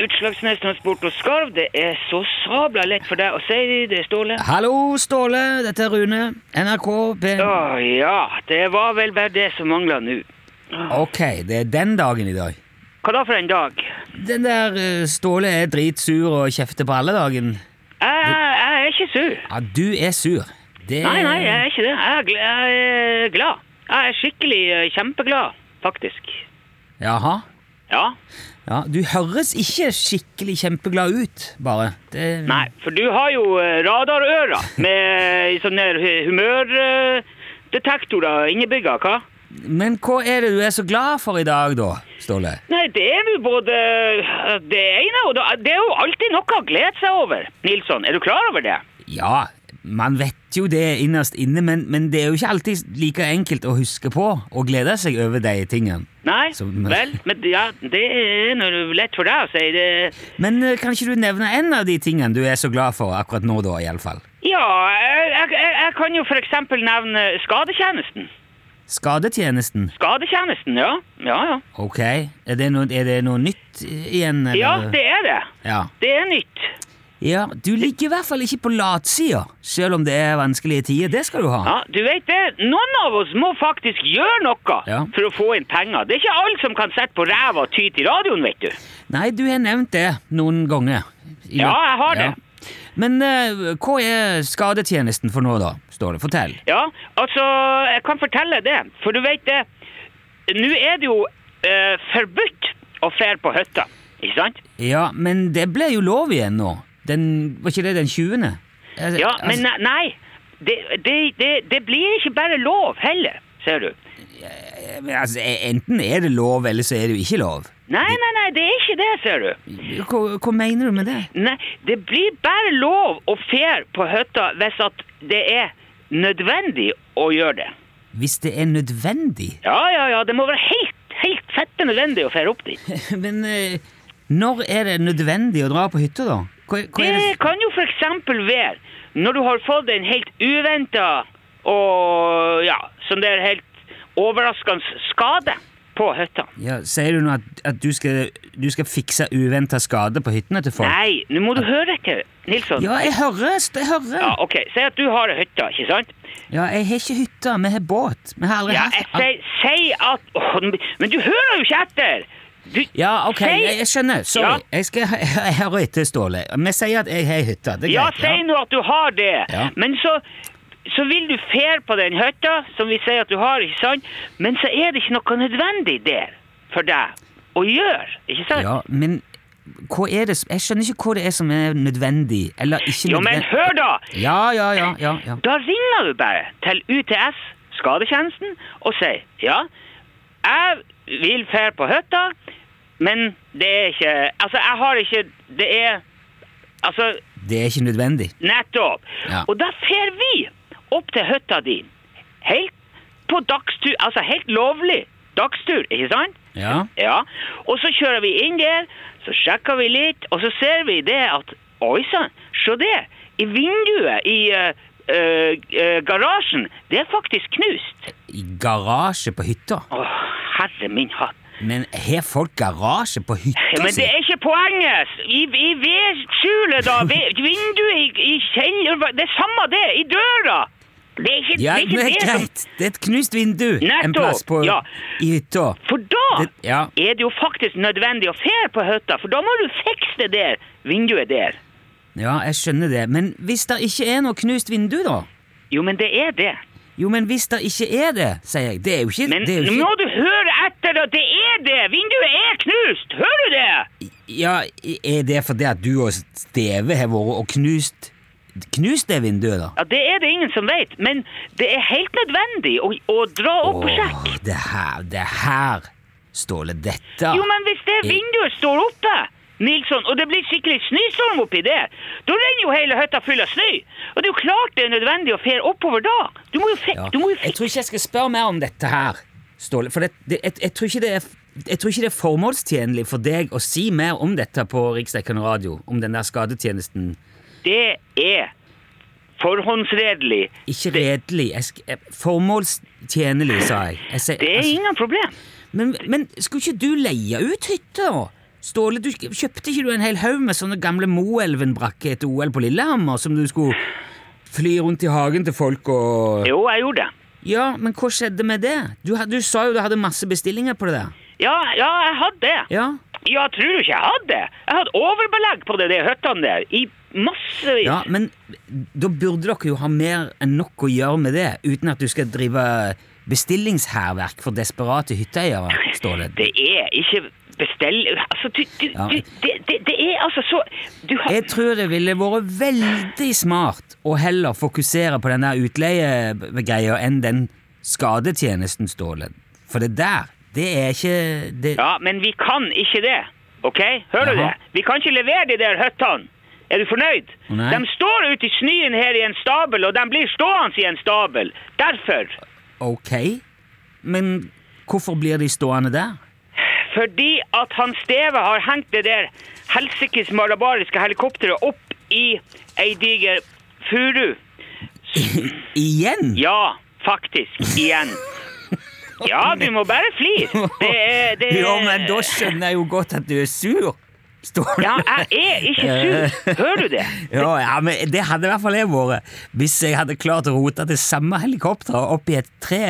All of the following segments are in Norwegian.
utslagsnedtransport og skarv, det er så sabla lett for deg å si det, Ståle. Hallo, Ståle. Dette er Rune. NRK B... Å ja, det var vel bare det som mangla nå. Ok, det er den dagen i dag. Hva da for en dag? Den der eh, Ståle er dritsur og kjefter på alle dagen. Jeg, jeg er ikke sur. Ja, du er sur. Det Nei, nei, jeg er ikke det. Jeg er, gl jeg er glad. Jeg er skikkelig eh, kjempeglad, faktisk. Jaha. Ja. Ja, du høres ikke skikkelig kjempeglad ut, bare. Det... Nei, for du har jo eh, radarører med sånne humørdetektorer innebygga, hva? Men hva er det du er så glad for i dag, da, Ståle? Nei, det er jo både det ene og det Det er jo alltid noe å glede seg over, Nilsson. Er du klar over det? Ja, man vet jo det innerst inne, men, men det er jo ikke alltid like enkelt å huske på og glede seg over de tingene. Nei? Så- Vel, men ja, det er nå lett for deg å si det. Men eh, kan ikke du nevne en av de tingene du er så glad for akkurat nå, da, iallfall? Ja, jeg, jeg- jeg, jeg kan jo for eksempel nevne skadetjenesten. Skadetjenesten. Skadetjenesten, ja. Ja, ja. Ok, er det noe, er det noe nytt eh, igjen? eller? Ja, det er det. Ja. Det er nytt. ja. Du ligger i hvert fall ikke på latsida, selv om det er vanskelige tider. Det skal du ha. Ja, du vet det. Noen av oss må faktisk gjøre noe Ja. for å få inn penger. Det er ikke alle som kan sette på ræva og ty til radioen, vet du. Nei, du har nevnt det noen ganger. I Ja, løpet- jeg har det. Men eh, hva er skadetjenesten for nå, da, Ståle? Fortell. Ja, altså, jeg kan fortelle det. For du vet det, nå er det jo eh, forbudt å fære på hytta, ikke sant? Ja, men det ble jo lov igjen nå. Den, var ikke det den 20.? Altså- Ja, men altså, ne- nei, det, det, det, det blir ikke bare lov heller, ser du. men altså, e- Enten er det lov, eller så er det jo ikke lov. Nei, nei, nei, det er ikke det, ser du. Hva, hva mener du med det? Nei, det blir bare lov å fære på hytta hvis at det er nødvendig å gjøre det. Hvis det er nødvendig? Ja, ja, ja, det må være helt, helt fette nødvendig å fære opp dit. Men eh, når er det nødvendig å dra på hytta, da? Hva, hva er Det det? kan jo for eksempel være når du har fått en helt uventet og ja, som det er helt overraskende skade på hytta. Ja, sier du nå at, at du, skal, du skal fikse uventa skade på hyttene til folk? Nei, nå må du høre etter, Nilsson. Ja, jeg hører! st- Jeg hører! Ja, ok, Si at du har ei hytte, ikke sant? Ja, jeg har ikke hytte, vi har båt. Vi har aldri Ja, jeg hatt sier si at Åh, Men du hører jo ikke etter! Du, Ja, ok, si- jeg, jeg skjønner. Sorry. Ja. Jeg skal jeg hører etter, Ståle. Vi sier at jeg har ei hytte. Det er Ja, greit. si nå at du har det. Ja. Men så, så vil du fære på den hytta som vi sier at du har, ikke sant? Men så er det ikke noe nødvendig der for deg å gjøre, ikke sant? Ja, men hva er det som Jeg skjønner ikke hva det er som er nødvendig, eller ikke Jo, men nødvendig. hør da! Ja, ja, ja, ja, ja. Da ringer du bare til UTS, skadetjenesten, og sier ja, jeg vil fære på hytta, men det er ikke Altså, jeg har ikke Det er Altså, Det er ikke nødvendig. Nettopp. Ja. Og da fer vi opp til hytta di. Helt på dagstur, altså helt lovlig dagstur, ikke sant? Ja. Ja. Og så kjører vi inn der, så sjekker vi litt, og så ser vi det at Oi sann, se det! I vinduet i eh, eh, eh, garasjen, det er faktisk knust. I garasje på hytta? Å, herre min hatt. Men har folk garasje på Ja, hytta Men det er ikke poenget! I, i vedskjulet, da! Ved, vinduet i, i kjelleren Det er samme det! I døra! Det er ikke det, Ja, er men ikke det er det som greit. Det er et knust vindu en Nettopp, plass på, ja. i hytta. For da Det- ja. er det jo faktisk nødvendig å fære på hytta, for da må du fikse det der vinduet der. Ja, jeg skjønner det. Men hvis det ikke er noe knust vindu, da? Jo, men det er det. Jo, men hvis det ikke er det, sier jeg. Det er jo ikke Men det er jo nå må ikke, du høre etter, da! Det er det! Vinduet er knust! Hører du det? Ja, Er det fordi at du og Steve har vært og knust Knust det vinduet, da? Ja, Det er det ingen som vet, men det er helt nødvendig å, å dra opp og sjekke. Åh, det her, det her, Ståle, dette Jo, men hvis det Eh. vinduet står oppe, Nilsson, og det blir skikkelig snøstorm oppi det, da renner jo hele hytta full av snø. Og det er jo klart det er nødvendig å fære oppover da. Du må jo fikse Ja, Du må jo Jeg fikse tror ikke jeg skal spørre mer om dette her, Ståle. For det, det, jeg, jeg, tror ikke det er, jeg tror ikke det er formålstjenlig for deg å si mer om dette på Riksdekkende radio, om den der skadetjenesten. Det er forhåndsredelig. Ikke redelig. Jeg, sk- jeg, formålstjenlig, sa jeg. jeg sier- Det er altså- ingen problem. Men, men skulle ikke du leie ut hytta? Ståle, du, kjøpte ikke du en hel haug med sånne gamle Moelven-brakker etter OL på Lillehammer, som du skulle fly rundt i hagen til folk og Jo, jeg gjorde det. Ja, men hva skjedde med det? Du, had- du sa jo du hadde masse bestillinger på det der. Ja, ja, jeg hadde det. Ja, Ja, tror du ikke jeg hadde det? Jeg hadde overbelegg på det, de hyttene der. I massevis. ja men da burde dere jo ha mer enn nok å gjøre med det, uten at du skal drive bestillingshærverk for desperate hytteeiere, Ståle. Det er ikke bestell... Altså, du, du, Ja. du det, det, det er altså så Du har Jeg tror det ville vært veldig smart å heller fokusere på den der utleiegreia enn den skadetjenesten, Ståle. For det der, det er ikke det, Ja, men vi kan ikke det. OK? Hører du Jaha. det? Vi kan ikke levere de der hyttene. Er du fornøyd? Nei. De står ute i snøen her i en stabel, og de blir stående i en stabel. Derfor. Ok, men hvorfor blir de stående der? Fordi at han Steve har hengt det der helsikes malabariske helikopteret opp i ei diger furu. Igjen? Ja, faktisk. Igjen. Ja, du må bare flire. Det er, det er Jo, men da skjønner jeg jo godt at du er sur. Ståle. Ja, jeg er ikke sur. Hører du det? Ja, ja, men det hadde i hvert fall jeg vært hvis jeg hadde klart å rote det samme helikopteret opp i et tre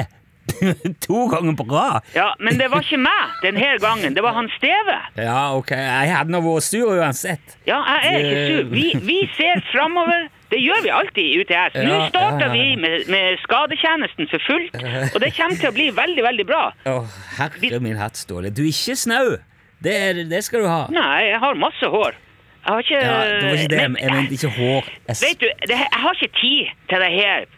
to ganger på rad. Ja, Men det var ikke meg denne gangen. Det var han Steve. Ja, ok, jeg hadde nå vært sur uansett. Ja, jeg er ikke sur. Vi, vi ser framover. Det gjør vi alltid i UTS. Nå Ja, starter ja, ja. vi med, med skadetjenesten for fullt, og det kommer til å bli veldig, veldig bra. Å, herre min hatt, Ståle. Du er ikke snau. Det, er- det skal du ha. Nei, jeg har masse hår. Jeg har ikke Ja, det var ikke det. Men- Jeg mente ikke hår. Jeg s- Vet du, det, jeg har ikke tid til det her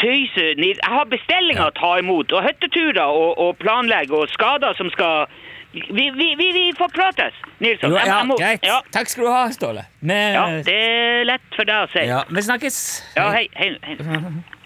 tøyset. Jeg har bestillinger å ta imot, og hytteturer og, og planlegge, og skader som skal Vi, vi, vi, vi får prates, Nilsson. Jo, Jeg- ja, jeg må- greit. Eh. Ja, Takk skal du ha, ja, Ståle. Men, det er lett for deg å si. ja, vi snakkes. Ja, hei, hei, hei.